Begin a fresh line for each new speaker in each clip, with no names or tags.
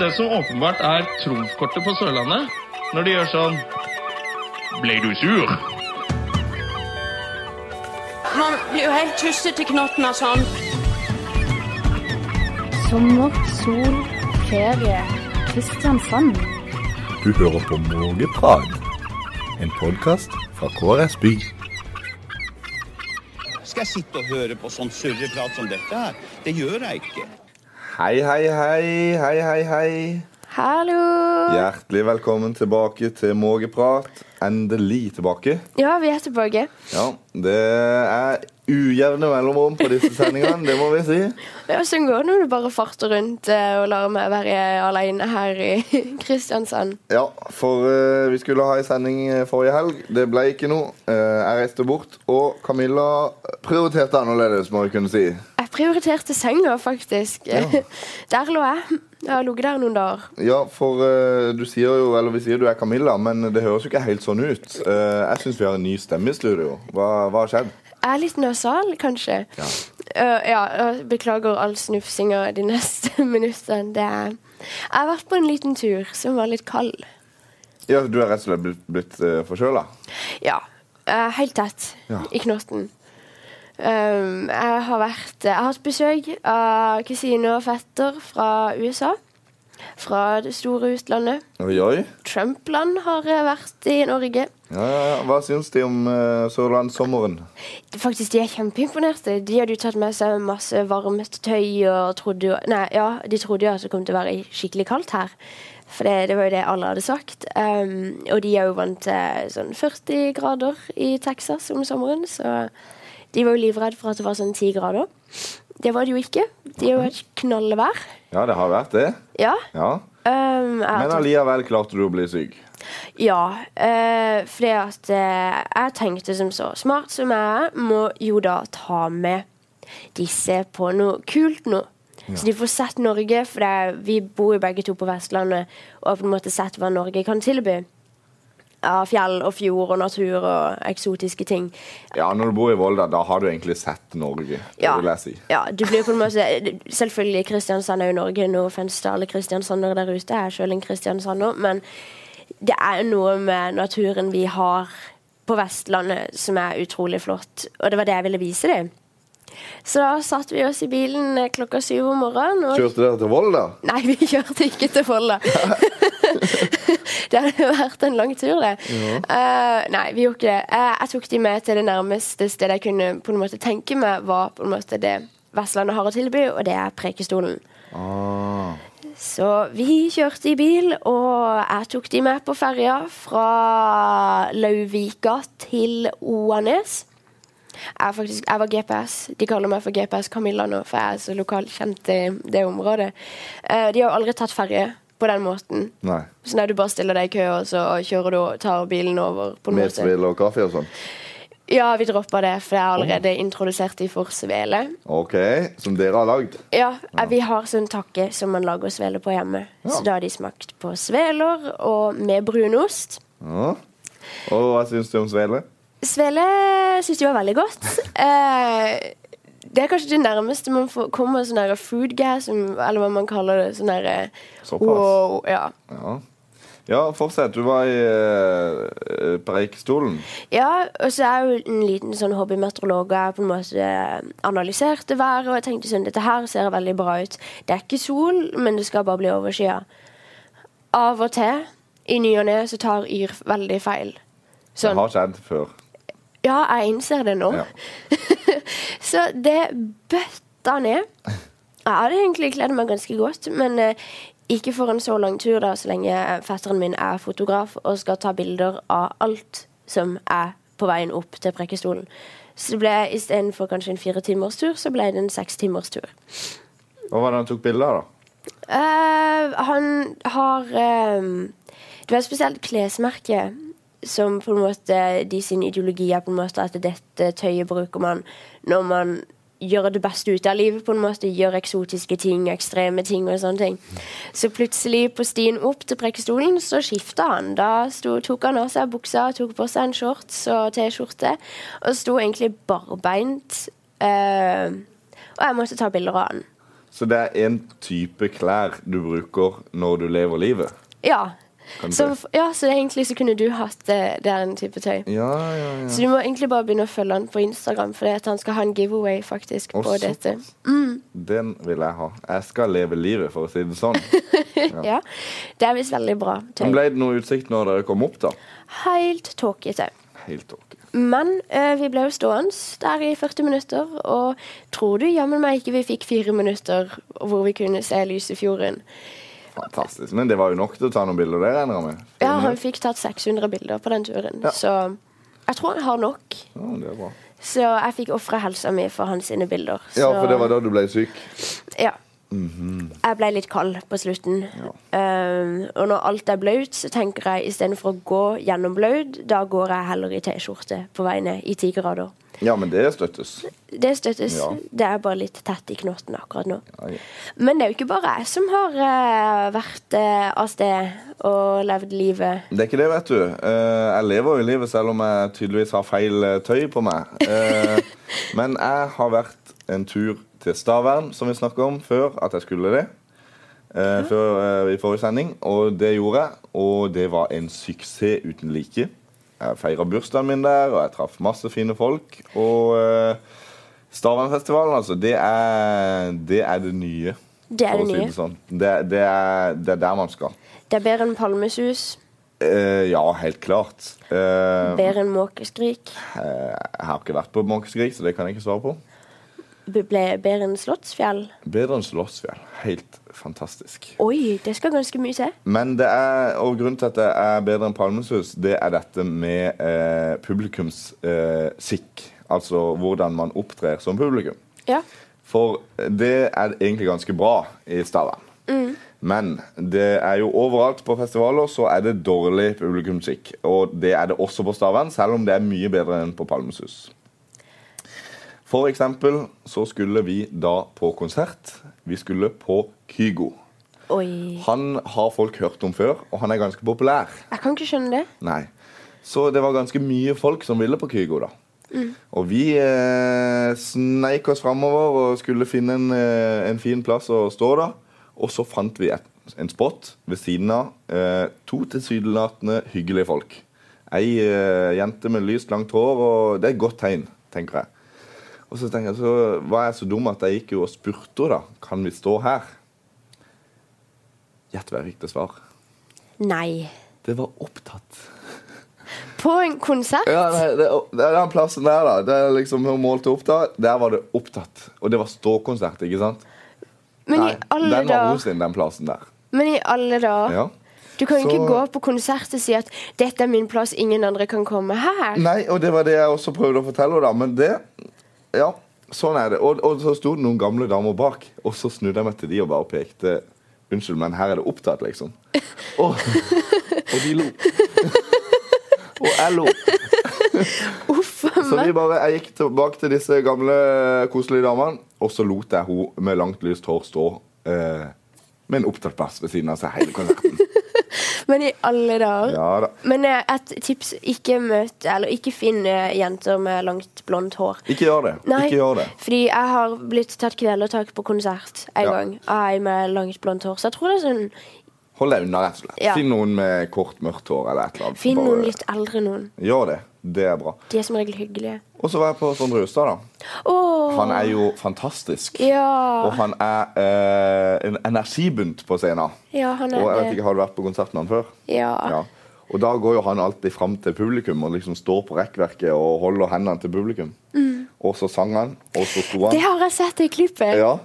Det som åpenbart er trumfkortet på Sørlandet, når de gjør sånn Ble du sur?
Man blir jo helt tussete i knotten av sånn.
Sommer, sol, ferie. Kristiansand.
Du hører på Mågeprat, en podkast fra KrS By.
Skal jeg sitte og høre på sånn surreprat som dette her? Det gjør jeg ikke.
Hei, hei, hei. Hei, hei, hei.
Hallo!
Hjertelig velkommen tilbake til Mågeprat. Endelig tilbake.
Ja, vi er tilbake.
Ja, det er ujevne mellomrom på disse sendingene, det må vi si.
Ja, Sånn går det når du bare farter rundt eh, og lar meg være alene her i Kristiansand.
Ja, for eh, vi skulle ha en sending eh, forrige helg. Det ble ikke noe. Eh, jeg reiste bort, og Camilla prioriterte annerledes, må vi kunne si.
Jeg prioriterte senga, faktisk. Der lå jeg. Jeg har ligget der noen dager.
Ja, for eh, du sier jo, eller vi sier du er Camilla, men det høres jo ikke helt sånn ut. Eh, jeg syns vi har en ny stemme i studio. Hva, hva har skjedd?
Jeg er litt nasal, kanskje.
Ja.
Eh, ja, jeg beklager all snufsinga de neste minuttene. Det er Jeg har vært på en liten tur som var litt kald.
Ja, Du er rett og slett blitt, blitt uh, forkjøla?
Ja. eh, helt tett
Ja.
i knotten. Um, jeg har vært Jeg har hatt besøk av kusine og fetter fra USA. Fra det store utlandet.
Oi, oi.
Trump-land har eh, vært i Norge.
Ja, ja, ja. Hva syns de om uh, sørlandssommeren?
Faktisk, De er kjempeimponerte. De hadde jo tatt med seg masse varmt tøy. og trodde jo, nei, ja, De trodde jo at det kom til å være skikkelig kaldt her. For det, det var jo det alle hadde sagt. Um, og de er jo vant til sånn 40 grader i Texas om sommeren. Så de var jo livredde for at det var sånn 10 grader. Det var det jo ikke. De har jo hatt knallvær.
Ja, det har vært det.
Ja.
Ja.
Um, jeg
Men
tok-
allikevel klarte du å bli syk.
Ja, øh, fordi at eh, jeg tenkte som så smart som jeg er, må jo da ta med disse på noe kult nå. Så de får sett Norge, for det er, vi bor jo begge to på Vestlandet, og har på en måte sett hva Norge kan tilby. Av fjell og fjord og natur og eksotiske ting.
Ja, Når du bor i Volda, da har du egentlig sett Norge. det vil jeg si.
ja, det blir på en måte Selvfølgelig, Kristiansand er jo Norge. Nå fins det alle kristiansandere der ute. Jeg er sjøl en kristiansander. Men det er jo noe med naturen vi har på Vestlandet som er utrolig flott. Og det var det jeg ville vise dem. Så da satte vi oss i bilen eh, klokka syv om morgenen. Og
Kjørte dere til Volda?
Nei, vi kjørte ikke til Folda. det hadde jo vært en lang tur, det. Eh, nei, vi gjorde ikke det. Eh, jeg tok de med til det nærmeste stedet jeg kunne på en måte tenke meg var på en måte det Vestlandet har å tilby, og det er Prekestolen.
Ah.
Så vi kjørte i bil, og jeg tok de med på ferja fra Lauvika til Oanes. Jeg, er faktisk, jeg var GPS. De kaller meg for GPS Camilla nå, for jeg er så lokalt kjent i det området. Eh, de har jo aldri tatt ferje på den måten.
Nei.
Så nei, du bare stiller deg i kø, og så kjører du og tar bilen over. på en
Med
måte.
svele og kaffe og sånn?
Ja, vi droppa det, for jeg har allerede introdusert de for svele.
OK. Som dere har lagd?
Ja, eh, vi har sånn takke som man lager svele på hjemme. Så da har de smakt på sveler og med brunost.
Ja. Og hva syns du om svele?
Svele syns de var veldig godt. Eh, det er kanskje det nærmeste man får, kommer sånn der food gas, som- eller hva man kaller det. Sånn der,
Såpass.
wow, ja.
Ja. ja, fortsett. Du var i eh, Preikestolen.
ja, og så er jeg jo en liten sånn hobbymeteorolog, og jeg på en måte eh, analyserte været, og jeg tenkte sånn, dette her ser veldig bra ut. Det er ikke sol, men det skal bare bli overskyet. Av og til, i ny og ne, så tar Yr veldig feil.
Det
Sånn,
har skjedd før.
Ja, jeg innser det nå.
Ja.
så det bøtta ned. Jeg hadde egentlig kledd meg ganske godt, men eh, ikke for en så lang tur, da, så lenge fetteren min er fotograf og skal ta bilder av alt som er på veien opp til Prekkestolen. Så det ble istedenfor kanskje en fire timers tur, så ble det en seks timers tur.
Hva var det han tok bilde av, da?
Eh, han har ehm, Det var et spesielt klesmerke som på en måte de sin ideologi er på en måte at dette tøyet bruker man når man gjør det beste ut av livet, på en måte gjør eksotiske ting, ekstreme ting og sånne ting. Så plutselig på stien opp til Preikestolen så skifta han. Da sto, tok han av seg buksa, tok på seg en shorts og T-skjorte og sto egentlig barbeint. eh, og jeg måtte ta bilder av han.
Så det er én type klær du bruker når du lever livet?
Ja.
Kan
Så,
du-
f- ja, så egentlig så kunne du hatt eh, den type tøy.
Ja, ja, ja.
Så du må egentlig bare begynne å følge han på Instagram, for det at han skal ha en giveaway faktisk
Å,
på
såpass.
dette.
Den vil jeg ha. Jeg skal leve livet, for å si det sånn.
Ja. Det er visst veldig bra tøy.
Men ble det noe utsikt når dere kom opp, da?
Helt tåkete.
Helt ok.
Men eh, vi ble jo stående der i 40 minutter, og tror du jammen meg ikke vi fikk fire minutter hvor vi kunne se Lysefjorden.
Fantastisk. Men det var jo nok til å ta noen bilder, det regner jeg med.
Ja, han fikk tatt 600 bilder på den turen,
Ja.
så jeg tror han har nok.
Ja, det er bra.
Så jeg fikk ofra helsa mi for hans sine bilder.
Ja,
så-
for det var da du ble syk.
Ja.
Mhm.
Jeg ble litt kald på slutten. Um, og når alt er blaut, så tenker jeg istedenfor å gå gjennom blaut, da går jeg heller i T-skjorte på vei ned i ti grader.
Ja, men det støttes.
Det støttes.
Ja.
Det er bare litt tett i knotten akkurat nå.
Ja, ja.
Men det er jo ikke bare jeg som har eh, vært eh, av sted og levd livet.
Det er ikke det, vet du. Eh, jeg lever jo livet selv om jeg tydeligvis har feil eh, tøy på meg. Eh, men jeg har vært en tur til Stavern, som vi snakket om før at jeg skulle det. eh, før, eh, I forrige sending. Og det gjorde jeg. Og det var en suksess uten like. Jeg feira bursdagen min der, og jeg traff masse fine folk. Og eh, Stavernfestivalen, altså, det er det, er det nye.
Det er
for å
det nye.
Si det, sånn. det, det, er, det er der man skal.
Det er bedre enn palmesus,
Eh, ja, helt klart. Eh,
bedre enn måkeskrik,
eh, jeg har ikke vært på Måkeskrik, så det kan jeg ikke svare på.
be- ble- bedre enn Slottsfjell.
Bedre enn Slottsfjell. Helt fantastisk.
Oi, det skal ganske mye til.
Men det er, og grunnen til at det er bedre enn Palmesus, det er dette med eh, publikumssikk. Eh, sikk. altså hvordan man opptrer som publikum.
Ja.
For det er egentlig ganske bra i Stavern. Men det er jo overalt på festivaler så er det dårlig publikumsskikk. Og det er det også på Stavern, selv om det er mye bedre enn på Palmesus. For eksempel så skulle vi da på konsert. Vi skulle på Kygo.
Oi.
Han har folk hørt om før, og han er ganske populær.
Jeg kan ikke skjønne det.
Nei. Så det var ganske mye folk som ville på Kygo, da. Og vi eh, sneik oss framover og skulle finne en, eh, en fin plass å stå, da. Og så fant vi et, en spot ved siden av eh, to tilsynelatende hyggelige folk. Ei eh, jente med lyst, langt hår, og det er et godt tegn, tenker jeg. Og så tenker jeg, så var jeg så dum at jeg gikk jo og spurte henne, da. Kan vi stå her? Gjett hva jeg fikk til svar.
Nei.
Det var opptatt.
På en konsert?
Ja, nei, det, det er den plassen der, da. Det er liksom hun målte opp da. Der var det opptatt. Og det var ståkonsert, ikke sant?
Men
nei,
i alle
den var hun
dager.
sin, den plassen der.
Men i alle dager.
Ja.
Du kan jo
Så-
ikke gå på konsert og si at 'dette er min plass, ingen andre kan komme her'.
Nei, og det var det jeg også prøvde å fortelle henne, da. Men det Ja, sånn er det. Og, og så sto det noen gamle damer bak, og så snudde jeg meg til de og bare pekte. Unnskyld, men her er det opptatt, liksom. Og, og de lo. Og jeg lo.
Uff a
Så
meg.
vi bare, jeg gikk tilbake til disse gamle, koselige damene, og så lot jeg hun med langt lyst hår stå eh, med en opptatt plass ved siden av seg hele konserten.
Men i alle dager.
Ja da.
Men eh, et tips ikke møt Eller ikke finn eh, jenter med langt blondt hår.
Ikke gjør det.
Nei,
Ikke gjør det.
fordi jeg har blitt tatt kvelertak på konsert en
Ja.
gang av ei med langt blondt hår. Så jeg tror det er sånn
Hold deg unna, rett og slett.
Ja.
Finn noen med kort, mørkt hår eller et eller annet.
Finn
Bare-
noen litt eldre noen.
Gjør det. Det er bra.
De er som regel hyggelige.
Og så var jeg på Sondre Justad, da.
Åh,
Han er jo fantastisk. Og
Ja.
han er eh, en energibunt på scenen.
Ja, han er
og jeg vet
det.
ikke, Har du vært på konsert med han før?
Ja.
Og da går jo han alltid fram til publikum og liksom står på rekkverket og holder hendene til publikum. Og så sang han, og så sto
Mm. Det
han.
har jeg sett i klippet.
Ja.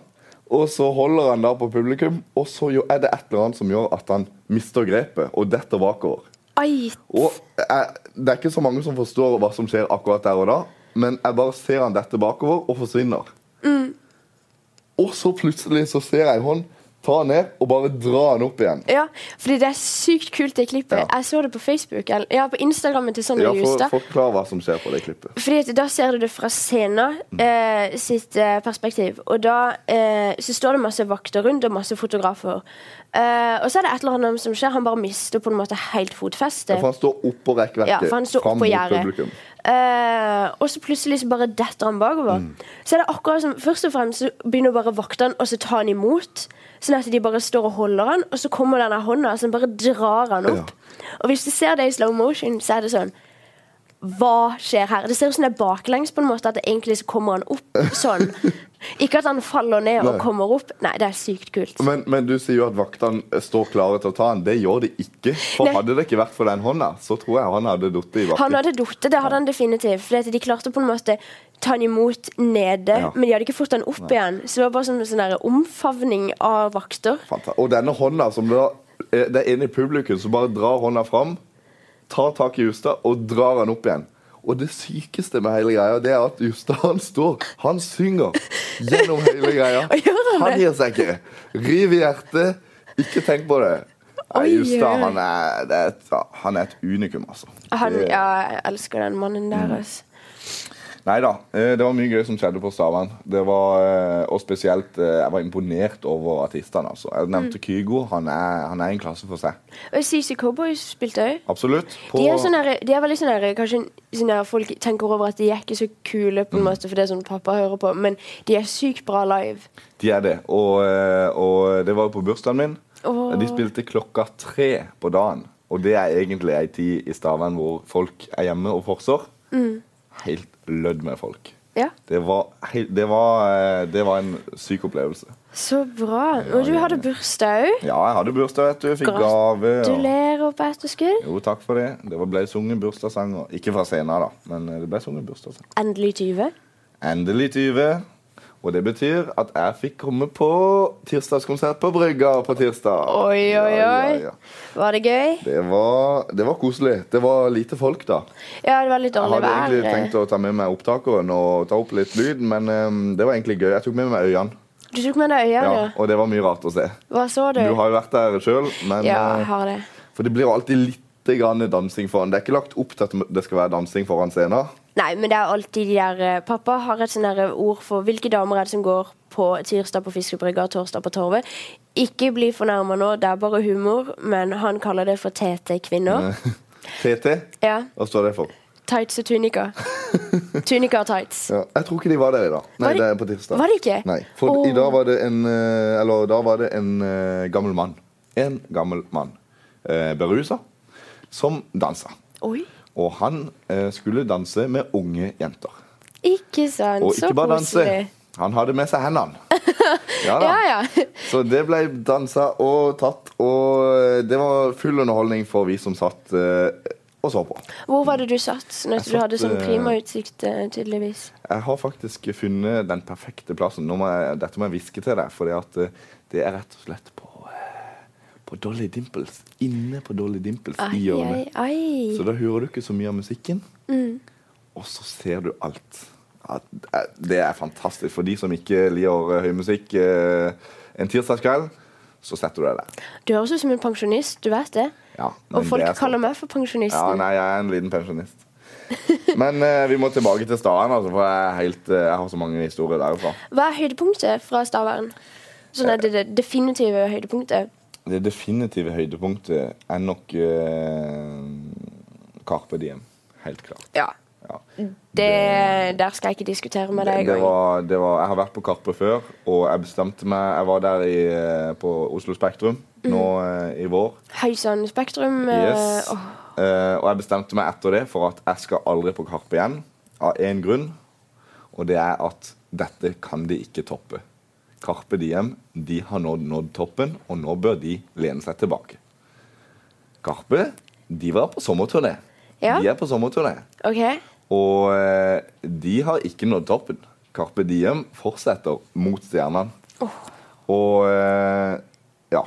Og så holder han da på publikum, og så jo- er det et eller annet som gjør at han mister grepet og detter bakover.
Ai,
Og jeg, Det er ikke så mange som forstår hva som skjer akkurat der og da, men jeg bare ser han dette bakover og forsvinner.
Mm.
Og så plutselig så ser jeg en hånd ta han ned og bare dra han opp igjen.
Ja, fordi det er sykt kult, det klippet.
Ja.
Jeg så det på Facebook, eller ja, på Instagrammen til Sondre
Ja, for,
Justad.
Forklar hva som skjer på det klippet.
Fordi at Da ser du det fra scenen
Mm.
eh, sitt eh, perspektiv. Og da eh, så står det masse vakter rundt og masse fotografer. Eh, og så er det et eller annet som skjer. Han bare mister på en måte
Ja,
helt fotfestet.
for han står oppå rekkverket.
Ja, for han står
fram
oppå
mot
gjerdet.
publikum.
Eh, og så plutselig så bare detter han bakover.
Mm.
Så er det akkurat som Først og fremst så begynner bare vaktene å så ta han imot. Sånn at de bare står og holder han, og så kommer denne hånda som bare drar han opp. Og hvis du ser det i slow motion, så er det sånn Hva skjer her? Det ser ut som det er baklengs, på en måte at det egentlig så kommer han opp sånn. Ikke at han faller ned og
Nei.
kommer opp. Nei, det er sykt kult.
Men, men du sier jo at vaktene eh, står klare til å ta han. Det gjør de ikke. For
Nei.
hadde det ikke vært for den hånda, så tror jeg han hadde falt i
Han
bakken.
hadde datt, det hadde han definitivt. For de klarte på en måte ta han imot nede,
Ja.
men de hadde ikke fått han opp igjen. Så det var bare sånn, sånn der omfavning av vakter.
Fanta- Og denne hånda som da eh, Det er en i publikum som bare drar hånda fram, tar tak i Justad og drar han opp igjen. Og det sykeste med hele greia, det er at Justad han står, han synger gjennom hele greia.
Og gjør han det?
gir seg ikke. Riv i hjertet. Ikke tenk på det. Nei,
Oi, oi. Ah.
Justad, han er, det er, et- han er et unikum, altså.
Han,
Det-
ja, jeg elsker den mannen
Mm.
der, altså.
Nei da. eh, Det var mye gøy som skjedde på Stavern. Det var, eh, Og spesielt eh, Jeg var imponert over artistene. Altså. Jeg
Mm.
nevnte Kygo. Han er, han er i en klasse for seg.
Og CC Cowboys spilte òg.
Absolutt. På-
De er, sånn der, de er veldig sånn der, Kanskje sånn der folk tenker over at de er ikke så
Mm.
kule, på en måte, for det er sånn pappa hører på, men de er sykt bra live.
de er det. Og, eh, og det var jo på bursdagen min.
Åh.
De spilte klokka tre på dagen. Og det er egentlig ei tid i Stavern hvor folk er hjemme og forsår.
Mm.
Helt lødd med folk.
Ja,
Det var, hei- det, var, eh, det var en syk opplevelse.
Så bra. Og du
ja,
hadde bursdag òg.
Ja, jeg hadde bursdag, vet du. Fikk gave. og-
Gratulerer på etterskudd.
Jo, takk for det. Det var- ble sunget bursdagssanger. Ikke fra scenen, da, men eh, det ble sunget bursdagssang.
Endelig 20.
Endelig 20. Og det betyr at jeg fikk komme på tirsdagskonsert på Brygga på tirsdag.
Oi, oi,
Ja, ja,
oi.
ja.
Var det gøy?
Det var, det var koselig. Det var lite folk, da.
Ja, det var litt
Jeg
dårlig
hadde
vær.
egentlig tenkt å ta med meg opptakeren og ta opp litt lyd, men eh, det var egentlig gøy. Jeg tok med meg øynene,
Du tok med deg øynene.
ja, og det var mye rart å se.
Hva så du?
Du har jo vært der sjøl, men
Ja,
eh,
jeg har det.
For det blir jo alltid litt grann dansing foran. Det er ikke lagt opp til at det skal være dansing foran scenen.
Nei, men det er alltid de der eh, Pappa har et sånn der ord for hvilke damer er det som går på tirsdag på Fiskebrygga og torsdag på Torvet. Ikke bli fornærma nå, det er bare humor, men han kaller det for TT-kvinner.
TT,
Ja.
Eh, hva står det for?
Tights og tunika. Tunika og tights.
Ja, jeg tror ikke de var der i dag. Nei,
Var de-
det er på tirsdag.
var de ikke?
Nei, for
Åh.
i dag var det en, eh, eller, da var det en eh, gammel mann. En gammel mann. Eh, berusa. Som dansa.
Oi.
Og han eh, skulle danse med unge jenter.
Ikke sant.
Og
Så
ikke bare danse.
koselig.
Han hadde med seg hendene. Ja da.
Ja, ja.
Så det ble dansa og tatt, og eh, det var full underholdning for vi som satt eh, og så på.
Hvor var det du satt? Når du
satt,
hadde sånn
eh,
prima utsikt, eh, tydeligvis.
Jeg har faktisk funnet den perfekte plassen. Nå må jeg, dette må jeg hviske til deg, for det er rett og slett på, eh, på Dolly Dimples. Inne på Dolly Dimples
Ai,
i hjørnet.
ai, Mm. ai.
Så da hører du ikke så mye av musikken, og så ser du alt. Ja, det er- det er fantastisk. For de som ikke liker eh, høy musikk eh, en tirsdagskveld, så setter du deg der.
Du høres ut som en pensjonist, du vet det.
Ja, men
Og folk
det er sant.
kaller meg for pensjonisten.
Ja, nei, jeg er en liten pensjonist. Men eh, vi må tilbake til Staden, altså, for jeg, er helt, eh, jeg har så mange historier derfra.
Hva er høydepunktet fra Stavern? Sånn er det, det definitive høydepunktet.
Det definitive høydepunktet er nok eh, Carpe Diem. Helt klart.
Ja.
Ja.
Det, der skal jeg ikke diskutere med
Det,
deg
det,
engang.
var, det var, jeg har vært på Karpe før, og jeg bestemte meg Jeg var der i, eh, på Oslo Spektrum nå eh, i vår.
Høysann Spektrum eh,
Yes.
åh,
Eh, og jeg bestemte meg etter det for at jeg skal aldri på Karpe igjen. Av én grunn, og det er at dette kan de ikke toppe. Karpe Diem de har nådd, nådd toppen, og nå bør de lene seg tilbake. Karpe de var på sommerturné.
Ja.
De er på sommerturné.
OK.
Og eh, de har ikke nådd toppen. Carpe Diem fortsetter mot stjernene. Og eh, ja.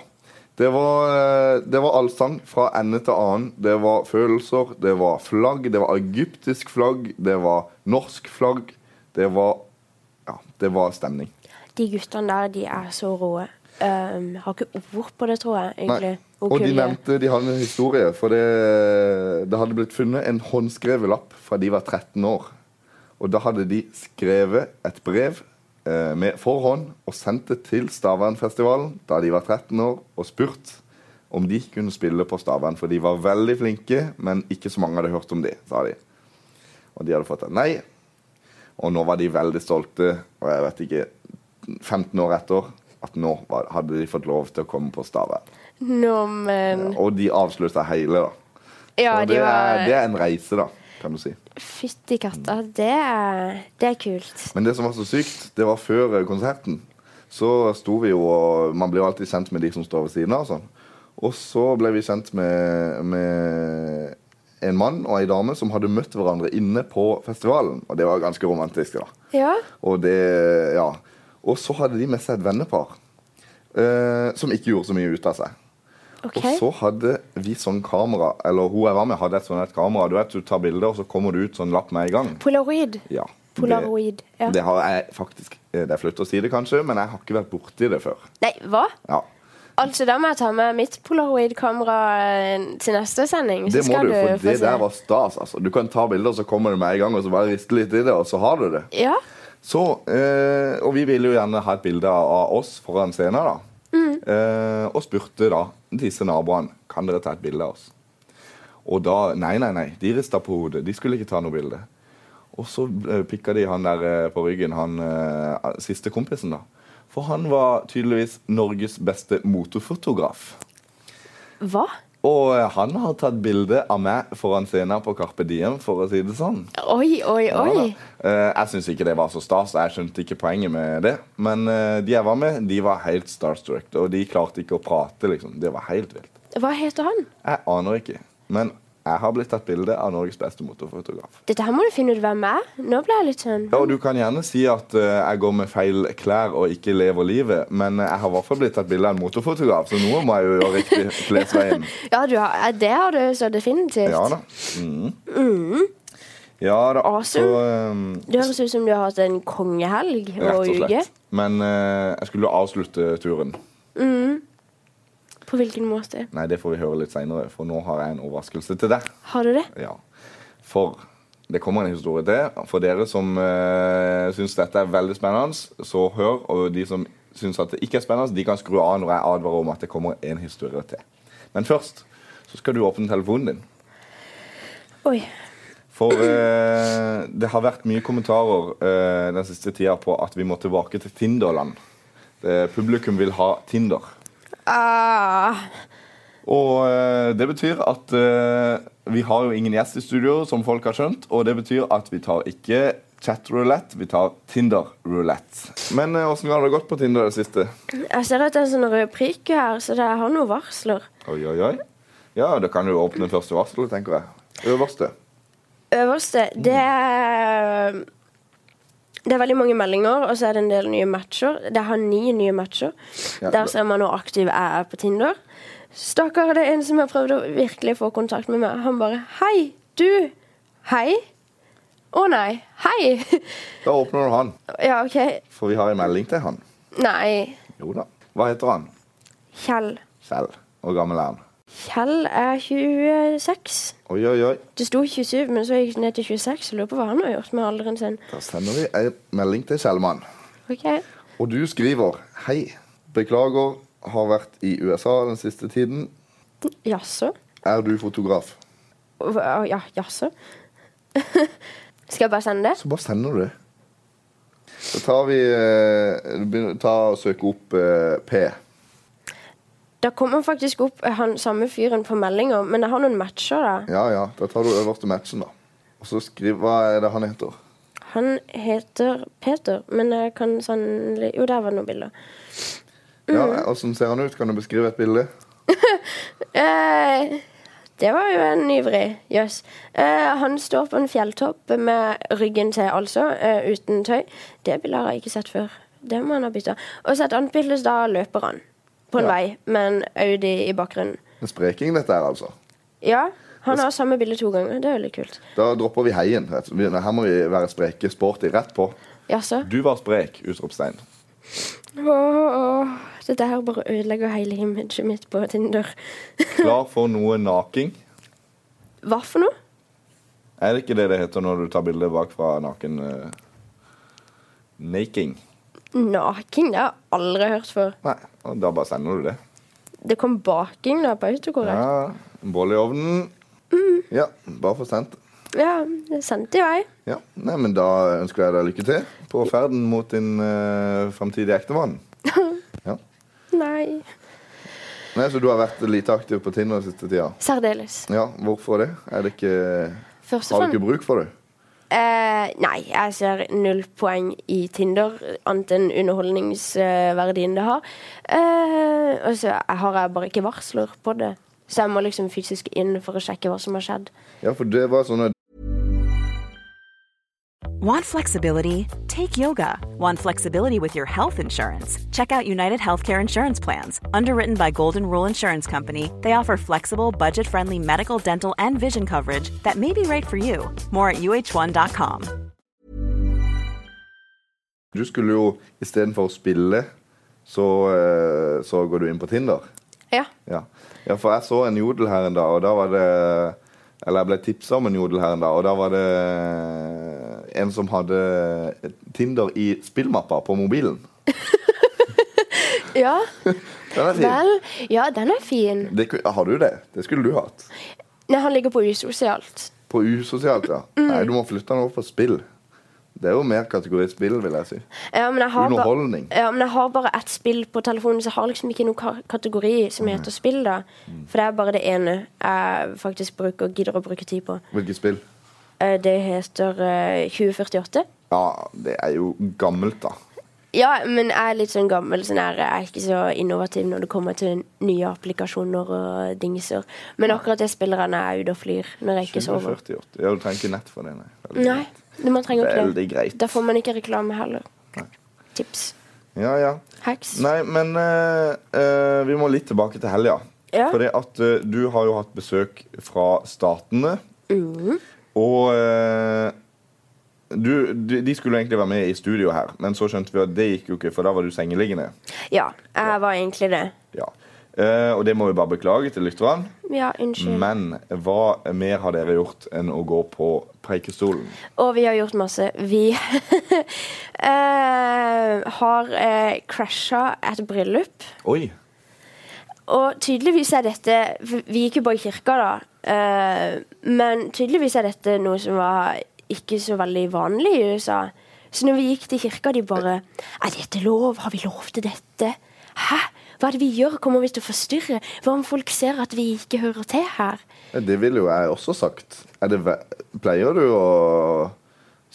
Det var, eh, det var allsang fra ende til annen. Det var følelser, det var flagg. Det var egyptisk flagg, det var norsk flagg. Det var Ja, det var stemning.
De guttene der, de er så rå. Um, har ikke ord på det, tror jeg, egentlig.
Nei.
Hvor
Og de
kul er.
nevnte de hadde en historie. For det, det hadde blitt funnet en håndskrevet lapp fra de var 13 år. Og da hadde de skrevet et brev eh, med forhånd og sendt det til Stavernfestivalen da de var 13 år, og spurt om de kunne spille på Stavern. For de var veldig flinke, men ikke så mange hadde hørt om de, sa de. Og de hadde fått et nei. Og nå var de veldig stolte, og jeg vet ikke 15 år etter, at nå var, hadde de fått lov til å komme på Stavern.
Nå, men
Og de avslutta hele, da.
Ja,
og
de
det, er, det
var
er en reise, da, kan du si.
Fytti katta. Det er, det er kult.
Men det som var så sykt, det var før eh, konserten. Så sto vi jo og Man blir jo alltid kjent med de som står ved siden av. og Sånn. Og så ble vi kjent med, med en mann og ei dame som hadde møtt hverandre inne på festivalen. Og det var ganske romantisk. da.
Ja.
Og det, ja. Og så hadde de med seg et vennepar eh, som ikke gjorde så mye ut av seg.
OK.
Og så hadde vi sånn kamera, eller hun jeg var med, hadde et sånt et kamera. Du vet, du tar bilder, og så kommer det ut sånn lapp med en gang.
Polaroid.
Ja. det-
Polaroid. Ja.
Det har jeg faktisk eh, Det er flaut å si det, kanskje, men jeg har ikke vært borti det før.
Nei, hva?
Ja.
Altså, da må jeg ta med mitt polaroid-kamera eh, til neste sending.
Det
så
må
skal
du, for
få
det
se.
der var stas. Altså. Du kan ta bilder, så kommer det med en gang, og så bare riste litt i det, og så har du det.
Ja.
Så, eh, Og vi ville jo gjerne ha et bilde av oss foran scenen, da. Eh, og spurte da disse naboene kan dere ta et bilde av oss. Og da Nei, nei, nei. De rista på hodet. De skulle ikke ta noe bilde. Og så eh, pikka de han der eh, på ryggen, han eh, siste kompisen, da. For han var tydeligvis Norges beste motorfotograf.
Hva?
Og eh, han har tatt bilde av meg foran scenen på Carpe Diem, for å si det sånn.
Oi, oi,
Ja, da.
oi.
Eh, jeg syns ikke det var så stas, og jeg skjønte ikke poenget med det. Men eh, de jeg var med, de var helt starstruck, og de klarte ikke å prate. liksom. Det var helt vilt.
Hva heter han?
Jeg aner ikke. Men jeg har blitt tatt bilde av Norges beste motorfotograf.
Dette her må du finne ut hvem er. Nå ble jeg litt sånn
Ja, og Du kan gjerne si at eh, jeg går med feil klær og ikke lever livet, men eh, jeg har i hvert fall blitt tatt bilde av en motorfotograf, så noe må jeg jo gjøre riktig. klesveien.
Ja, du har, eh, det har du så definitivt.
Ja da. Mm. Ja da.
Awesome.
Så, eh,
Det høres ut som du har hatt en kongehelg og
rett og
uke.
slett. Men eh, jeg skulle jo avslutte turen.
På hvilken måte?
Nei, det får vi høre litt seinere, for nå har jeg en overraskelse til deg.
Har du det?
Ja. For det kommer en historie til. For dere som uh, syns dette er veldig spennende, så hør. Og de som syns at det ikke er spennende, de kan skru av når jeg advarer om at det kommer en historie til. Men først så skal du åpne telefonen din.
Oi.
For eh, det har vært mye kommentarer eh, den siste tida på at vi må tilbake til Tinderland. Det, publikum vil ha Tinder.
Ah,
Og eh, det betyr at eh, vi har jo ingen gjest i studio, som folk har skjønt. Og det betyr at vi tar ikke chatroulette, vi tar Tinder-roulette. Men eh, åssen har det gått på Tinder i det siste?
jeg ser at det er en sånn rød prikk her, så det har noen varsler.
Oi, oi, oi. Ja, da kan du jo åpne første varsel, tenker jeg. Øverste.
Øverste, det er det er veldig mange meldinger, og så er det en del nye matcher. Det har ni nye matcher.
Ja,
Der
da-
ser man hvor aktiv jeg er på Tinder. Stakkar, det er en som har prøvd å virkelig få kontakt med meg. Han bare Hei, du. Hei. Å nei. Hei.
Da åpner du han,
ja, OK.
for vi har en melding til han.
Nei.
Jo da. Hva heter han?
Kjell.
Kjell. Hvor gammel er han?
Kjell er 26.
Oi, oi, oi.
Det sto 27, men så gikk det ned til 26. Jeg lurer på hva han har gjort med alderen sin.
Da sender vi en melding til Kjellmann.
Ok.
Og du skriver Hei. Beklager, har vært i USA den siste tiden.
Jaså?
Er du fotograf?
Hva- Ja, jaså? Skal jeg bare sende det?
Så bare sender du det. Så tar vi eh, du begynner- ta og søke opp eh, P.
Da kommer faktisk opp eh, han samme fyren på meldinger, men jeg har noen matcher, da.
Ja, ja. Da tar du øverste matchen, da. Og så skriv Hva er det han heter?
Han heter Peter, men jeg kan sannelig Jo, der var det noen bilder.
Ja, Åssen ser han ut? Kan du beskrive et bilde?
Eh, det var jo en ivrig jøss. Eh, han står på en fjelltopp med ryggen til, altså, eh, uten tøy. Det bildet har jeg ikke sett før. Det må han ha bytta. Og så et annet bilde, så da løper han på en
Ja.
vei med en Audi i bakgrunnen.
En spreking, dette her, altså.
Ja, han har samme bilde to ganger. Det er veldig kult.
Da dropper vi heien. rett. Vi- Her må vi være spreke, sporty, rett på.
Jaså?
Du var sprek! Utropstegn.
Åh, åh, åh. Dette her bare ødelegger hele imaget mitt på Tinder.
Klar for noe naking?
Hva for noe?
Er det ikke det det heter når du tar bilde bakfra naken? eh, naking.
Naking? Det har jeg aldri hørt før.
Nei, og da bare sender du det.
Det kom baking da på autokorrekt.
Ja, en Boll i ovnen. Ja, bare få sendt.
Ja, det sendte jeg.
Ja, nei, men Da ønsker jeg deg lykke til på ferden mot din uh, framtidige ektemann. Ja.
Nei.
Nei, Så du har vært lite aktiv på Tinder den siste tida?
Særdeles.
Ja, Hvorfor det? Er det ikke,
Først og
har du
fremst
ikke bruk for det?
eh, Nei, jeg ser null poeng i Tinder, annet enn underholdningsverdien det har. Eh, og så har jeg bare ikke varsler på det. Så jeg må liksom fysisk inn for å sjekke hva som har skjedd.
Ja, for det var sånn at
Want flexibility? Take yoga. Want flexibility with your health insurance? Check out United Healthcare Insurance Plans. Underwritten by Golden Rule Insurance Company, they offer flexible, budget friendly medical, dental, and vision coverage that may be right for you. More at uh1.com.
du skulle jo istedenfor å spille, så, eh, så går du inn på Tinder.
Ja.
Ja. ja, for jeg så en jodel her en dag, og da var det Eller jeg ble tipsa om en jodel her en dag, og da var det en som hadde Tinder i spillmappa på mobilen.
Ja,
Den er fin.
vel. Ja, den er fin.
Det, ku- har du det? Det skulle du hatt.
Nei, han ligger på usosialt.
På usosialt, ja.
Mm.
Nei, du må flytte den over på spill. Det er jo mer kategori spill, vil jeg si.
Ja, men jeg har ba-
Underholdning.
Ja, men jeg har bare ett spill på telefonen, så jeg har liksom ikke noen ka kategori som
Mm.
heter spill, da. For det er bare det ene jeg faktisk bruker, gidder å bruke tid på.
Hvilket spill?
Eh, Det heter eh, 2048.
Ja, det er jo gammelt, da.
Ja, men jeg er litt sånn gammel, sånn her, jeg er ikke så innovativ når det kommer til nye applikasjoner og dingser. Men akkurat det spiller jeg når jeg er ute og flyr, når jeg ikke sover.
2048. Ja, du trenger ikke nett for det, nei. Veldig
Nei,
greit.
det- man trenger ikke
Veldig greit.
Da får man ikke reklame heller. Tips.
Ja, ja.
Hacks.
Nei, men eh, eh, vi må litt tilbake til helga.
Ja.
Fordi at eh, du har jo hatt besøk fra statene. Og eh, du, de de skulle egentlig være med i studio her, men så skjønte vi at det gikk jo ikke, for da var du sengeliggende.
Ja, jeg var egentlig det.
Ja. Eh, og det må vi bare beklage til lytterne.
Ja, unnskyld.
Men hva mer har dere gjort enn å gå på Preikestolen?
Og vi har gjort masse. Vi eh, har eh, crasha et bryllup.
Oi!
Og tydeligvis er dette for Vi gikk jo bare i kirka, da. Eh, men tydeligvis er dette noe som var ikke så veldig vanlig i USA. Så når vi gikk til kirka, de bare Er dette lov? Har vi lov til dette? Hæ? Hva er det vi gjør? Kommer vi til å forstyrre? Hva om folk ser at vi ikke hører til her?
Det ville jo jeg også sagt. Er det, ve- pleier du å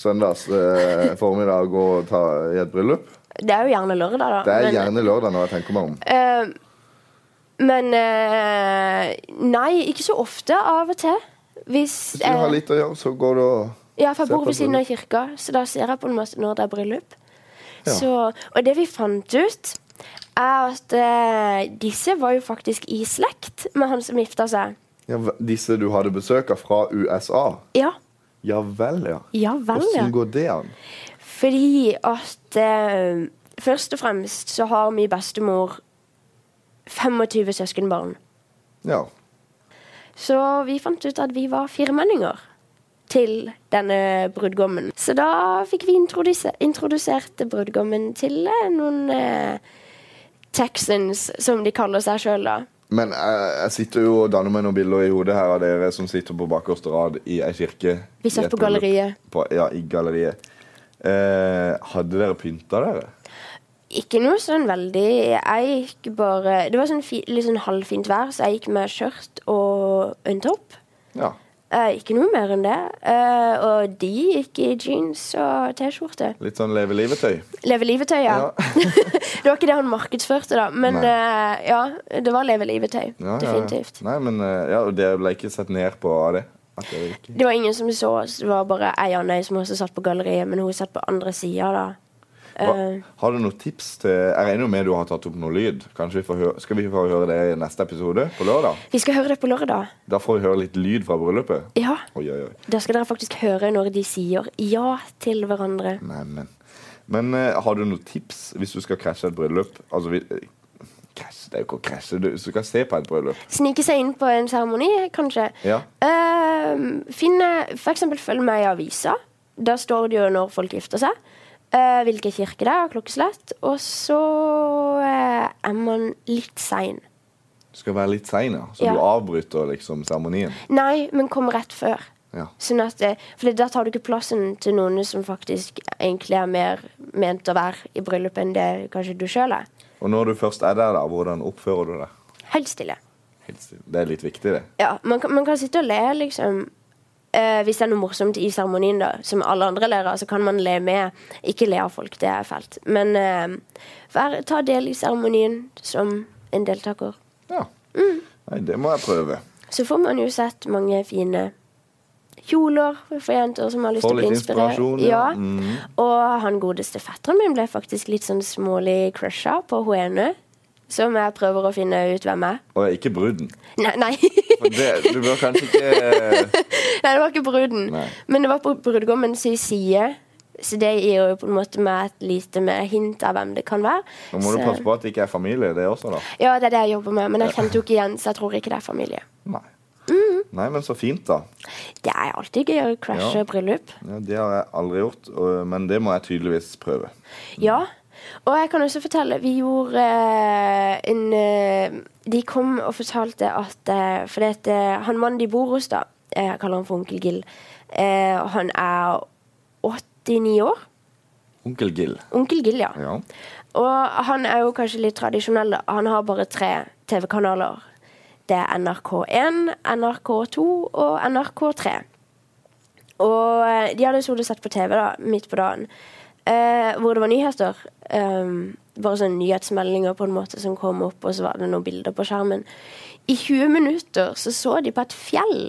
søndags eh, formiddag gå og ta i et bryllup?
Det er jo gjerne lørdag, da.
Det er
men-
gjerne lørdag når jeg tenker meg om.
Eh, men eh, Nei, ikke så ofte. Av og til. Hvis,
Hvis du har
eh,
litt å gjøre, så går du og
ja, for jeg
ser
bor
på
ved siden av
bryllup.
kirka, så da ser jeg på en måte når det er bryllup.
Ja.
Så, og det vi fant ut, er at eh, disse var jo faktisk i slekt med han som gifta seg.
ja, v- Disse du hadde besøk av fra USA?
Ja,
Ja vel, ja.
ja vel, ja.
Åssen går det an?
Fordi at eh, først og fremst så har min bestemor 25 søskenbarn.
Ja.
Så vi fant ut at vi var firmenninger til denne brudgommen. Så da fikk vi introduse- introdusert brudgommen til eh, noen eh, Texans, som de kaller seg sjøl, da.
Men jeg, jeg sitter jo og danner meg noen bilder i hodet her av dere som sitter på bakerste rad i ei kirke.
Vi
i
satt
et
på
bryllup.
galleriet.
På, ja, i galleriet. Eh, hadde dere pynta dere?
Ikke noe sånn veldig Jeg gikk bare Det var sånn fi, litt sånn halvfint vær, så jeg gikk med skjørt og en topp.
Ja.
Eh, ikke noe mer enn det. Eh, og de gikk i jeans og T-skjorte.
Litt sånn leve livet-tøy.
Leve livet-tøy, ja.
Ja.
det var ikke det han markedsførte, da. Men eh, ja, det var leve livet-tøy.
Ja, ja, ja.
Definitivt.
Nei, men eh, ja, og dere ble ikke sett ned på av det? At dere ikke...
Det var ingen som så oss. Det var bare ei Annøy som også satt på galleriet, men hun satt på andre sida, da. Eh,
Hva, har du noen tips til Jeg regner jo med du har tatt opp noe lyd. Kanskje vi får høre, skal vi få høre det i neste episode på lørdag?
Vi skal høre det på lørdag.
Da får vi høre litt lyd fra bryllupet.
Ja.
Oi, oi, oi.
Da skal dere faktisk høre når de sier ja til hverandre.
Nei, men Men eh, har du noen tips hvis du skal krasje et bryllup? Altså, vi, eh, krasje, det er jo ikke å krasje. Du, hvis du skal se på et bryllup.
Snike seg inn på en seremoni, kanskje.
Ja.
Ehm, finne, for eksempel følg med i avisa. Da står det jo når folk gifter seg. eh, hvilken kirke det er, og klokkeslett. Og så eh, er man litt sein.
Du skal være litt sein, ja. Så
Ja.
du avbryter liksom seremonien.
Nei, men kom rett før.
Ja.
Sånn at, eh, for da tar du ikke plassen til noen som faktisk egentlig er mer ment å være i bryllup enn det kanskje du sjøl er.
Og når du først er der, da, hvordan oppfører du deg?
Helt stille.
Helt stille. Det er litt viktig, det.
Ja, man kan, man kan sitte og le, liksom. Eh, hvis det er noe morsomt i seremonien, da, som alle andre ler av, så kan man le med. Ikke le av folk, det er fælt. Men eh, vær, ta del i seremonien som en deltaker.
Ja.
Mm.
Nei, det må jeg prøve.
Så får man jo sett mange fine kjoler for jenter som har lyst
Får
til å bli
litt
inspirert.
inspirasjon, ja.
ja.
Mhm.
Og han godeste fetteren min ble faktisk litt sånn smålig crusha på hun ene. Som jeg prøver å finne ut hvem er.
Og jeg er ikke bruden.
Nei, nei.
For Det, du bør kanskje ikke eh,
Nei, det var ikke bruden.
Nei.
Men det var på brudgommens side. Så det gir jo på en måte meg et lite mer hint av hvem det kan være.
Nå må du
Så-
passe på at det ikke er familie, det også, da.
Ja, det er det jeg jobber med, men jeg kjente jo ikke igjen, så jeg tror ikke det er familie.
Nei.
Mhm.
Nei, men så fint, da.
Det er alltid gøy å crashe
Ja.
bryllup.
Ja, det har jeg aldri gjort, og- men det må jeg tydeligvis prøve.
Ja. Og jeg kan også fortelle Vi gjorde eh, en eh, De kom og fortalte at eh, For det at, eh, han mannen de bor hos, da eh, Jeg kaller han for onkel Gill. Eh, og han er 89 år.
Onkel Gill.
Onkel Gill, ja.
Ja.
Og han er jo kanskje litt tradisjonell. da. Han har bare tre TV-kanaler. Det er NRK1, NRK2 og NRK3. Og eh, de hadde sittet og sett på TV da, midt på dagen, eh, hvor det var nyheter. Um, bare sånne nyhetsmeldinger på en måte som kom opp, og så var det noen bilder på skjermen. I 20 minutter så så de på et fjell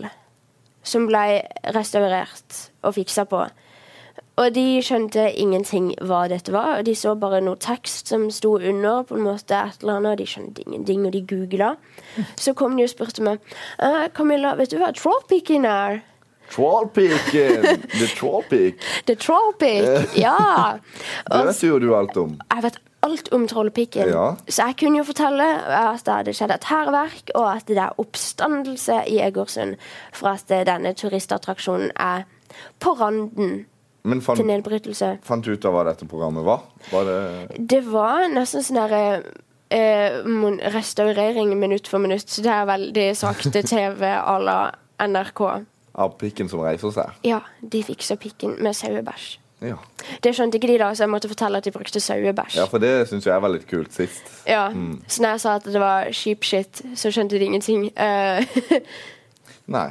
som ble restaurert og fiksa på. Og de skjønte ingenting hva dette var. og De så bare noe tekst som sto under, på en måte et eller annet, og de skjønte ingenting, og de googla. Så kom de og spurte meg «Eh, Camilla, vet du hva trawlpiken er?
Trollpiken! The Trollpik.
The trawlpik! Ja!
Eh. Det
Og
vet jo du alt om.
jeg vet alt om trollpikken.
Ja.
Så jeg kunne jo fortelle at det hadde skjedd et hærverk, og at det er oppstandelse i Egersund for at denne turistattraksjonen er på randen
Men
til
fant,
nedbrytelse.
fant du ut av hva dette programmet var? Var det
Det var nesten sånn derre eh, mon- restaurering minutt for minutt. Så det er veldig sakte TV à la NRK.
av pikken som reiser seg?
Ja, de fiksa pikken med sauebæsj.
Ja,
Det skjønte ikke de, da, så jeg måtte fortelle at de brukte sauebæsj.
ja Mm. for det syns jeg var litt kult sist.
Ja, Så når jeg sa at det var sheep shit, så skjønte de ingenting. Eh,
Nei. Nei.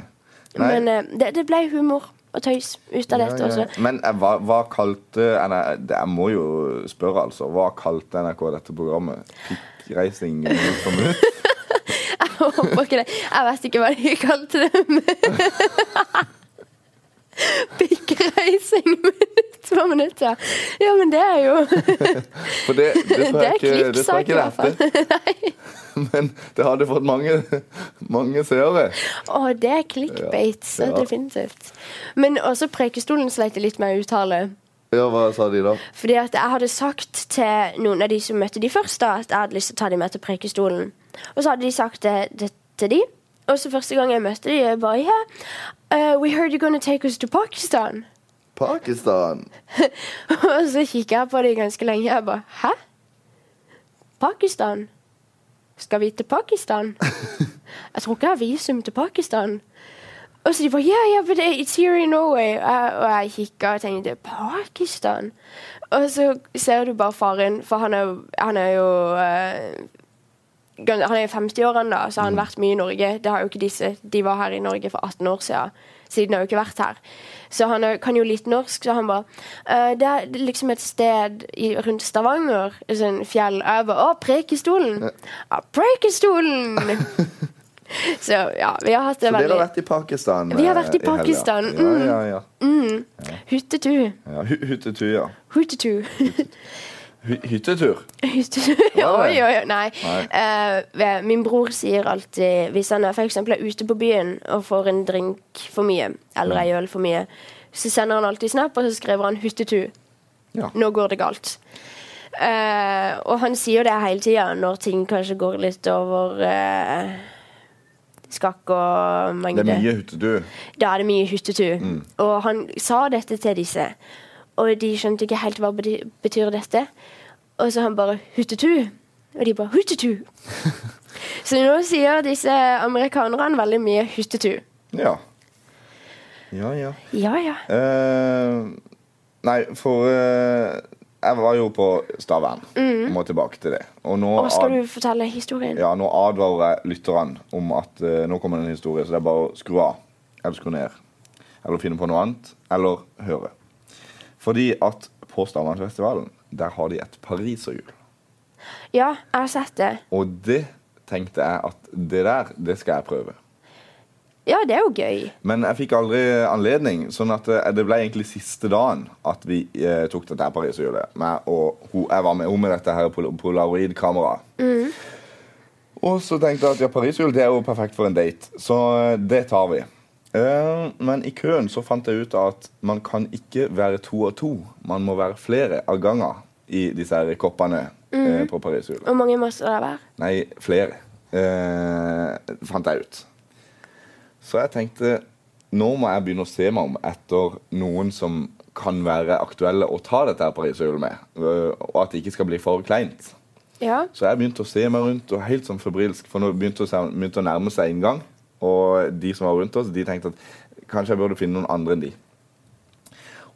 Men eh, det, det ble humor og tøys ut av
Ja,
dette
ja.
også.
Men eh, hva, hva kalte NRK, det- Jeg må jo spørre, altså. Hva kalte NRK dette programmet? Pikkreising? minutt for minutt?
Jeg håper ikke det. Jeg vet ikke hva de kalte det. men- Pikkreising minutt for minutt, ja. Ja, men det er jo
For det, det tror
Det er
jeg ikke det tror jeg
klikksak i
ikke
hvert fall.
det heter. Men det hadde fått mange, mange seere.
Å, det er clickbait, så
Ja.
definitivt. Men også Preikestolen sleit litt med å uttale.
Ja, hva sa de da?
Fordi at jeg hadde sagt til noen av de som møtte de først, da, at jeg hadde lyst til å ta dem med til Preikestolen. Og så hadde de sagt det, det til de. Og så første gang jeg møtte de, jeg bare yeah, uh, We heard you're gonna take us to Pakistan.
Pakistan.
og så kikket jeg på de ganske lenge, jeg bare Hæ? Pakistan? Skal vi til Pakistan? jeg tror ikke jeg har visum til Pakistan. Og så de bare Yeah, yeah, but it's here in Norway. Og- Og jeg kikka og tenkte Pakistan? Og så ser du bare faren, for han er, jo- han er jo eh, gans- Han er i 50-årene, da, så har han vært mye i Norge. Det har jo ikke disse. De var her i Norge for 18 år siden. Siden har jo ikke vært her. Så han er, kan jo litt norsk, så han bare eh, Det er liksom et sted i, rundt Stavanger, et sånt fjell. Og jeg bare Å, Preikestolen! Ja, Preikestolen! så ja, vi har hatt det
Så dere
veldig
har vært i Pakistan?
Vi har vært i
eh, helga.
Pakistan,
Ja,
mm.
ja, ja.
Hyttetu.
ja hy- hyttetur, ja.
Hyttetu.
Hy hyttetur?
Hyttetu.
Var det?
Oi, oi, oi. Nei.
Nei.
Eh, ve- min bror sier alltid, hvis han er, for eksempel er ute på byen og får en drink for mye, eller ei øl for mye, så sender han alltid snap, og så skriver han 'hyttetu'.
Ja.
Nå går det galt. Eh, og han sier det hele tida når ting kanskje går litt over eh, skakk og
Det
mengde.
er mye hyttetur.
Da er det mye hyttetur. Og han sa dette til disse, og de skjønte ikke helt hva bety- betyr dette. Og så han bare 'hyttetu', og de bare 'hyttetu'. så nå sier disse amerikanerne veldig mye 'hyttetu'.
Ja. Ja, ja.
Ja, ja.
Eh, nei, for eh, jeg var jo på Stavern. Må tilbake til det. Og nå,
Mm. Og skal
ad-
du fortelle historien?
ja, nå advarer jeg lytterne om at eh, nå kommer det en historie, så det er bare å skru av. Eller skru ned. Eller finne på noe annet. Eller høre. Fordi at på Stavangerfestivalen, der har de et pariserhjul.
Ja, jeg har sett det.
Og det tenkte jeg at det der, det skal jeg prøve.
Ja, det er jo gøy.
Men jeg fikk aldri anledning, sånn at eh, det ble egentlig siste dagen at vi eh, tok dette her pariserhjulet. Meg og ho, jeg var med henne med dette her pol- polaroid-kameraet. Og så tenkte jeg at ja, pariserhjul det er jo perfekt for en date, så eh, det tar vi. Eh, men i køen så fant jeg ut at man kan ikke være to og to. Man må være flere av gangen i disse her koppene eh, på pariserhjulet.
Hvor mange master det være?
Nei, flere. Eh, fant jeg ut. Så jeg tenkte nå må jeg begynne å se meg om etter noen som kan være aktuelle å ta dette her pariserhjulet med. eh, Og at det ikke skal bli for kleint.
Ja.
Så jeg begynte å se meg rundt, og helt sånn febrilsk, for nå begynte å, se, begynte å nærme seg inngang. Og de som var rundt oss, de tenkte at kanskje jeg burde finne noen andre enn de.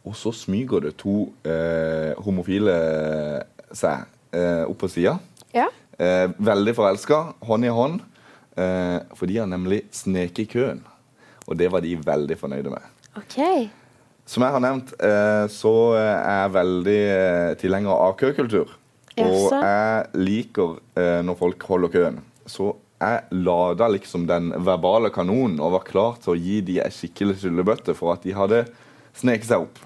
Og så smyger det to eh, homofile seg eh, opp på sida.
Ja.
Eh, veldig forelska, hånd i hånd. Eh, for de har nemlig sneket i køen. Og det var de veldig fornøyde med.
OK.
Som jeg har nevnt, eh, så er jeg veldig eh, tilhenger av køkultur. Og
Jaså?
jeg liker eh, når folk holder køen. Så jeg lada liksom den verbale kanonen og var klar til å gi de ei skikkelig skyllebøtte for at de hadde sneket seg opp.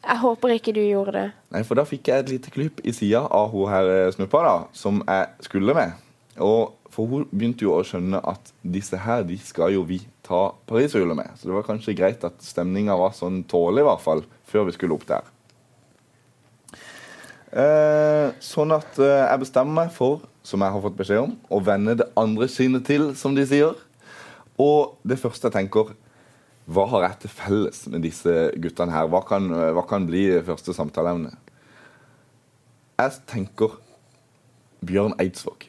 Jeg håper ikke du gjorde det.
Nei, for da fikk jeg et lite klyp i sida av hun her eh, snuppa, da, som jeg skulle med. Og For hun begynte jo å skjønne at disse her, de skal jo vi ta pariserhjulet med. Så det var kanskje greit at stemninga var sånn tålelig, i hvert fall, før vi skulle opp der. Eh, sånn at eh, jeg bestemmer meg for, som jeg har fått beskjed om, å vende det andre kinnet til, som de sier. Og det første jeg tenker hva har jeg til felles med disse guttene her? Hva kan, hva kan bli det første samtaleemnet? Jeg tenker Bjørn Eidsvåg.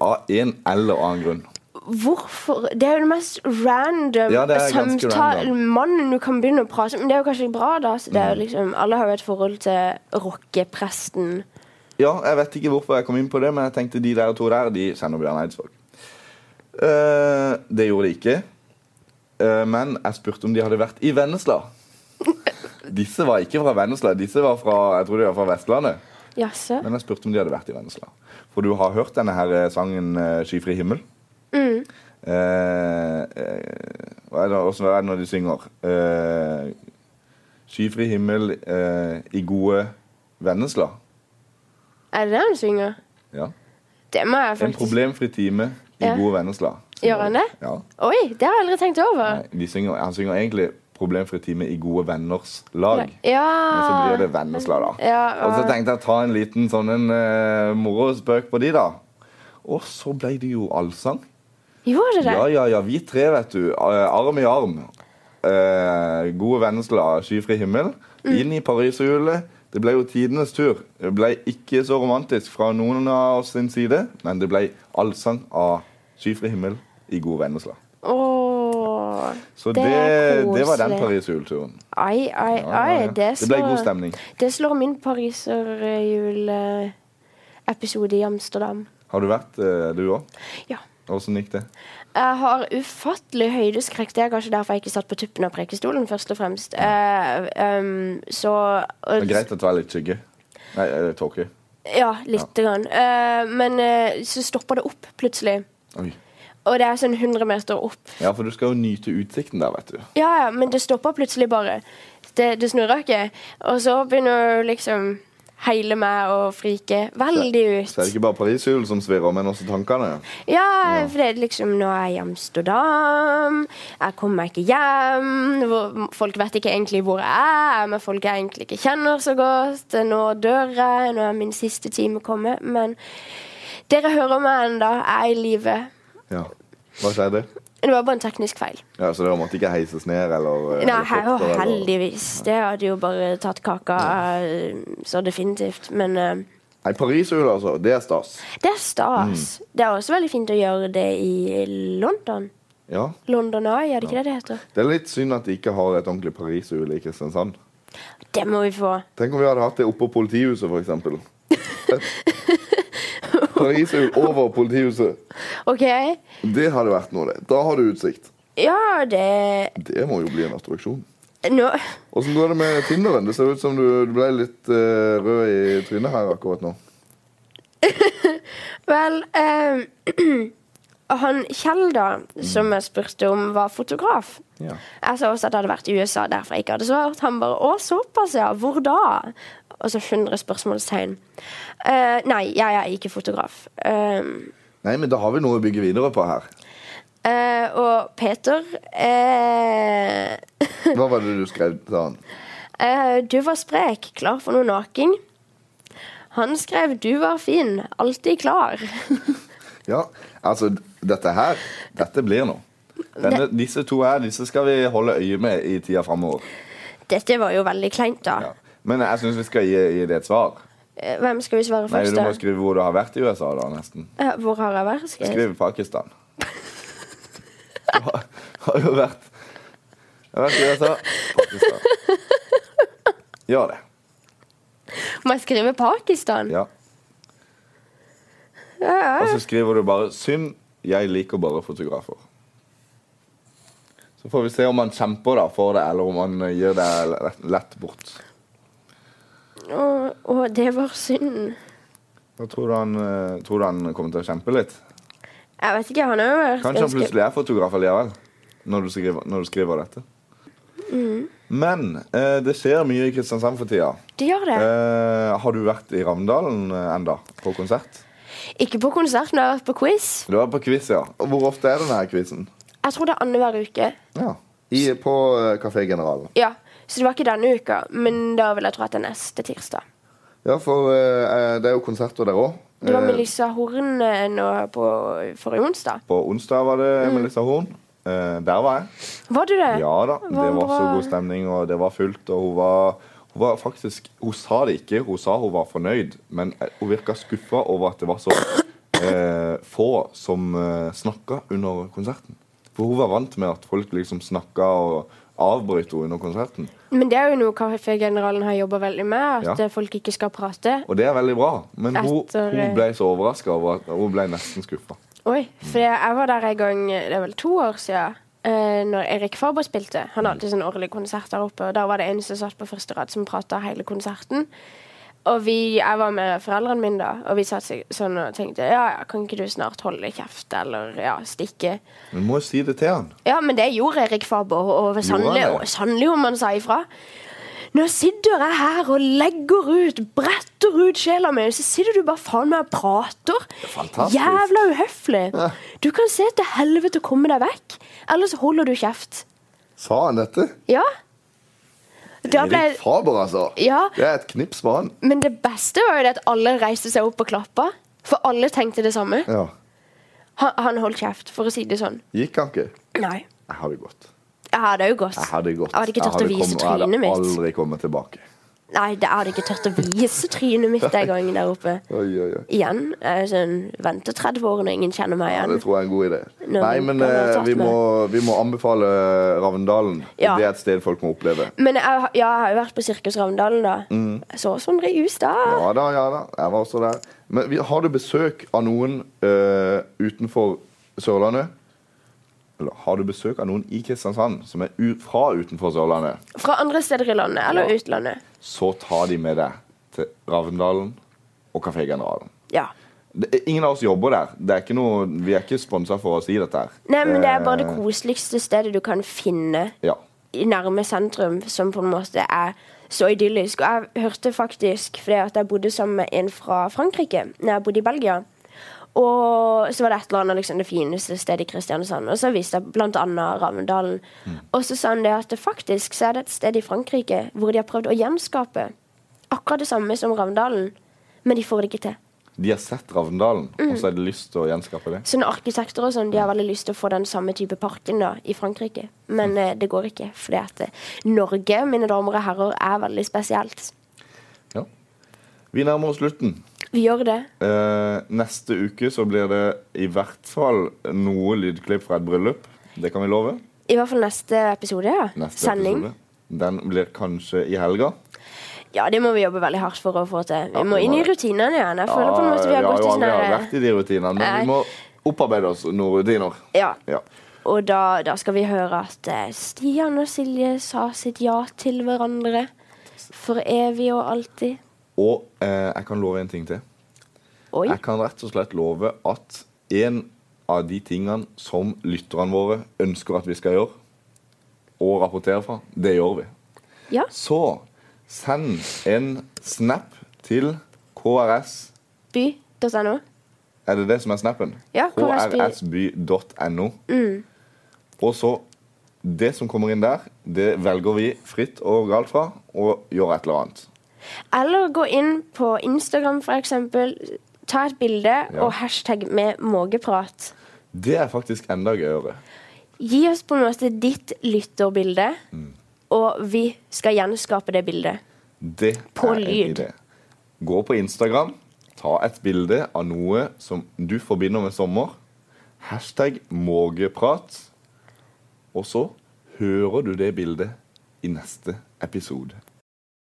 Av en eller annen grunn.
Hvorfor? Det er jo det mest random
Ja, det er ganske
samtale
random. Mm.
mannen du kan begynne å prate med. Men det er jo kanskje bra, da. Så det er jo liksom, alle har jo et forhold til rockepresten.
Ja, jeg vet ikke hvorfor jeg kom inn på det, men jeg tenkte de der to der, de kjenner Bjørn Eidsvåg. Eh, det gjorde de ikke. Eh, men jeg spurte om de hadde vært i Vennesla. Disse var ikke fra Vennesla, disse var fra, jeg tror de var fra Vestlandet.
Jaså?
Men jeg spurte om de hadde vært i Vennesla. For du har hørt denne her eh, sangen eh, 'Skyfri himmel'?
Mm.
Eh, eh, hva er det, hvordan er det når de synger? Eh, 'Skyfri himmel eh, i gode Vennesla'.
Er det det han synger?
Ja.
Det må jeg
En
faktisk
problemfri time i
Ja.
gode Vennesla.
Gjør han det?
Ja.
Oi, det har jeg aldri tenkt over.
Nei, de synger, han synger egentlig 'Problemfri time i gode venners lag'.
Ja.
Men så blir det Vennesla, da.
Ah. Ja, ah.
Og så
ja.
tenkte jeg ta en liten sånn en eh, morospøk på de, da. Og så ble det jo allsang.
Gjorde det det?
Ja, ja, ja, vi tre, vet du. eh, Arm i arm. Eh, gode Vennesla, skyfri himmel.
Mm.
Inn i pariserhjulet. Det ble jo tidenes tur. Det ble ikke så romantisk fra noen av oss sin side, men det ble allsang av skyfri himmel i gode Vennesla.
Åh.
Så
Det
det,
er
det var den
koselig.
pariserhjulturen.
Ai,
Ja,
ai,
ja,
ai.
ja.
Det,
Det ble
slår-
god stemning.
Det slår min pariserjuleepisode i Amsterdam.
Har du vært, eh, du òg?
Ja.
Åssen gikk det?
Jeg har ufattelig høydeskrekk. Det er kanskje derfor jeg ikke satt på tuppen av prekestolen, først og fremst. Eh, ehm, så
Det er greit at det var litt skygge. Nei, eh, tåke.
Ja, lite grann. Eh, men eh, så stopper det opp plutselig.
Oi.
Og det er sånn 100 meter opp.
Ja, for du skal jo nyte utsikten der, vet du.
Ja, ja, men det stopper plutselig bare. Det, det snurrer ikke. Og så begynner jo liksom hele meg å frike veldig
Så er det
ut.
ikke bare pariserhjulet som svirrer, men også tankene.
Ja, for det er liksom Nå er jeg i Amsterdam. Jeg kommer meg ikke hjem. Hvor, folk vet ikke egentlig hvor jeg er. Jeg er med folk jeg egentlig ikke kjenner så godt. Nå dør jeg. Nå er min siste time kommet. Men dere hører meg ennå. Jeg er i live.
Ja. Hva skjedde?
Det var bare en teknisk feil.
Ja, så det måtte ikke heises ned eller eh,
Nei,
helikopter,
å,
eller-
heldigvis. Det hadde jo bare tatt kaka eh, så definitivt. Men eh,
Nei, pariserhjul, altså. Det er stas.
det er stas. Det er også veldig fint å gjøre det i London.
Ja.
London Eye, er det ikke det det heter?
Det er litt synd at de ikke har et ordentlig Paris og Ule i Kristiansand.
Det må vi få.
Tenk om vi hadde hatt det oppå politihuset, for eksempel. Et Parisul over politihuset.
OK.
Det hadde vært noe, det. Da har du utsikt.
Ja, det
Det må jo bli en attraksjon.
Nå
Åssen går det med Tinderen? Det ser ut som du du ble litt eh, rød i trynet her akkurat nå.
Vel eh, Han Kjell, da, som jeg spurte om var fotograf
Ja.
Jeg sa også at det hadde vært i USA, derfor jeg ikke hadde svart. Han bare 'Å, såpass, ja. Hvor da?' Og så 100 spørsmålstegn. Eh, nei, jeg er ikke fotograf. Um,
Nei, men da har vi noe å bygge videre på her.
Eh, og Peter eh,
Hva var det du skrev til han?
eh, Du var sprek, klar for noe naking. Han skrev 'du var fin, alltid klar'.
Ja, altså, d- dette her Dette blir noe. Denne, disse to her disse skal vi holde øye med i tida framover.
Dette var jo veldig kleint, da.
Ja. Men jeg syns vi skal gi, gi det et svar.
Eh, Hvem skal vi svare
Nei,
først,
Du
da?
må skrive hvor du har vært i USA, da, nesten.
Eh, hvor har jeg vært? Skal jeg-
Skriv Pakistan. Du har, har jo vært Jeg har vært i USA. Pakistan. Gjør det.
Må jeg skrive Pakistan?
Ja. Og så skriver du bare 'Synd, jeg liker bare fotografer'. Så får vi se om han kjemper da for det, eller om han øh, gir det lett- lett bort.
Å, å, det var synd.
Da tror du han, eh, tror du han kommer til å kjempe litt?
Jeg vet ikke, han har jo vært
Kanskje han
ganske-
plutselig er fotograf allikevel. Når du skriver, når du skriver dette. Men eh, det skjer mye i Kristiansand for tida.
De gjør det.
Eh, har du vært i Ravndalen eh, enda? På konsert?
Ikke på konsert, men jeg har vært på quiz.
Du var på quiz, ja. Og Hvor ofte er denne quizen?
Jeg tror det er annenhver uke.
Ja. I, på eh, Kafé General.
Ja, Så det var ikke denne uka, men da vil jeg tro at det er neste tirsdag.
Ja, for eh, det er jo konserter der òg.
Det var Melissa Horn eh, nå på forrige onsdag.
på onsdag var det Melissa Horn. Eh, der var jeg.
Var du det?
Mm. Ja da.
Hva
Det var så
bra.
god stemning, og det var fullt. Og hun var, hun var faktisk Hun sa det ikke, hun sa hun var fornøyd, men eh, hun virka skuffa over at det var så eh, få som eh, snakka under konserten. For hun var vant med at folk liksom snakka og avbrøt henne under konserten.
Men det er jo noe Kaffegeneralen har jobba veldig med, at
Ja.
eh, folk ikke skal prate.
Og det er veldig bra, men hun,
Etter-
hun ble så overraska over at hun ble nesten skuffa.
Oi, for jeg var der en gang, det er vel to år siden, eh, når Erik Faber spilte. Han har alltid sånn årlig konsert der oppe, og da var det en som satt på første rad som prata hele konserten. Og vi, jeg var med foreldrene mine da, og vi satt seg sånn og tenkte ja, ja, kan ikke du snart holde kjeft, eller ja, stikke?
Men må jo si det til han.
Ja, men det gjorde Erik Faber, og sannelig,
det?
og sannelig om han sa ifra. Nå sitter jeg her og legger ut, bretter ut sjela mi, så sitter du bare faen meg og prater.
fantastisk.
Jævla uhøflig. Du kan se til helvete og komme deg vekk, ellers holder du kjeft.
Sa han dette?
Ja. Da ble,
Erik Faber, altså.
Ja.
Det er et knips med han.
men det beste var jo det at alle reiste seg opp og klappa, for alle tenkte det samme.
Ja.
Han, han holdt kjeft, for å si det sånn.
Gikk han ikke?
Nei.
Jeg har det godt.
Jeg hadde jo gått.
Jeg hadde gått.
Jeg hadde ikke turt å
hadde
vise
kommet- jeg hadde
trynet mitt.
aldri kommet tilbake.
Nei, det hadde ikke tørt å vise trynet mitt den gangen der oppe.
Oi, oi, oi.
Igjen. eh, Sånn, vente 30 år når ingen kjenner meg
Ja, det
igjen.
tror jeg er en god idé.
Når
Nei,
vi
men
bare har
eh,
tatt
vi må, vi må anbefale Ravndalen.
Ja.
Det er et sted folk må oppleve.
Men jeg, har- ja, jeg har jo vært på Sirkus Ravndalen, da. Jeg så Sondre Jus da.
Mm. Ja da, ja da. Jeg var også der. Men vi, har du besøk av noen eh, utenfor Sørlandet? Eller har du besøk av noen i Kristiansand som er u fra utenfor Sørlandet?
Fra andre steder i landet, eller
Ja.
utlandet.
Så ta de med deg til Ravndalen og Kafé Generalen.
Ja.
Det- Ingen av oss jobber der. Det er ikke noe, vi er ikke sponsa for å si dette. her.
Nei, men det er bare det
Eh,
koseligste stedet du kan finne
Ja.
i nærme sentrum, som på en måte er så idyllisk. Og jeg hørte faktisk, fordi at jeg bodde sammen med en fra Frankrike, når jeg bodde i Belgia, og så var det et eller annet liksom, det fineste stedet i Kristiansand. Og så viste jeg blant annet Ravndalen. Og så sa han det at det faktisk så er det et sted i Frankrike hvor de har prøvd å gjenskape akkurat det samme som Ravndalen, men de får det ikke til.
De har sett Ravndalen,
Mm.
og så har de lyst til å gjenskape det.
Så når arkitekter og sånn, de har veldig lyst til å få den samme type parken da, i Frankrike.
Mm.
Men eh, det går ikke, fordi at eh, Norge, mine damer og herrer, er veldig spesielt.
Ja. Vi nærmer oss slutten.
Vi gjør det.
Eh, neste uke så blir det i hvert fall noe lydklipp fra et bryllup. Det kan vi love.
I hvert fall neste episode. ja.
Neste
Sending.
episode. Den blir kanskje i helga.
Ja, det må vi jobbe veldig hardt for å få til. Vi
Ja,
må
vi
inn
må
i
det.
rutinene igjen. Jeg føler på en måte vi har
Ja,
gått i
jo
sånn
aldri har
her
vært i de rutinene, men
Nei.
vi må opparbeide oss noen rutiner.
eh, Ja.
Ja.
Og da, da skal vi høre at eh, Stian og Silje sa sitt ja til hverandre. For evig og alltid.
Og eh, jeg kan love en ting til.
Oi.
Jeg kan rett og slett love at en av de tingene som lytterne våre ønsker at vi skal gjøre, og rapportere fra, det gjør vi.
Ja.
Så send en snap til KRS
By.no.
Er det det som er snappen?
Ja,
krsby.no.
Mm.
Og så Det som kommer inn der, det velger vi fritt og galt fra og gjør et eller annet.
Eller gå inn på Instagram, for eksempel. Ta et bilde
Ja.
og hashtag med mågeprat.
Det er faktisk enda gøyere.
Gi oss på en måte ditt lytterbilde, og vi skal gjenskape det bildet.
Det
På
er en
lyd.
idé. Gå på Instagram, ta et bilde av noe som du forbinder med sommer. Hashtag mågeprat. Og så hører du det bildet i neste episode.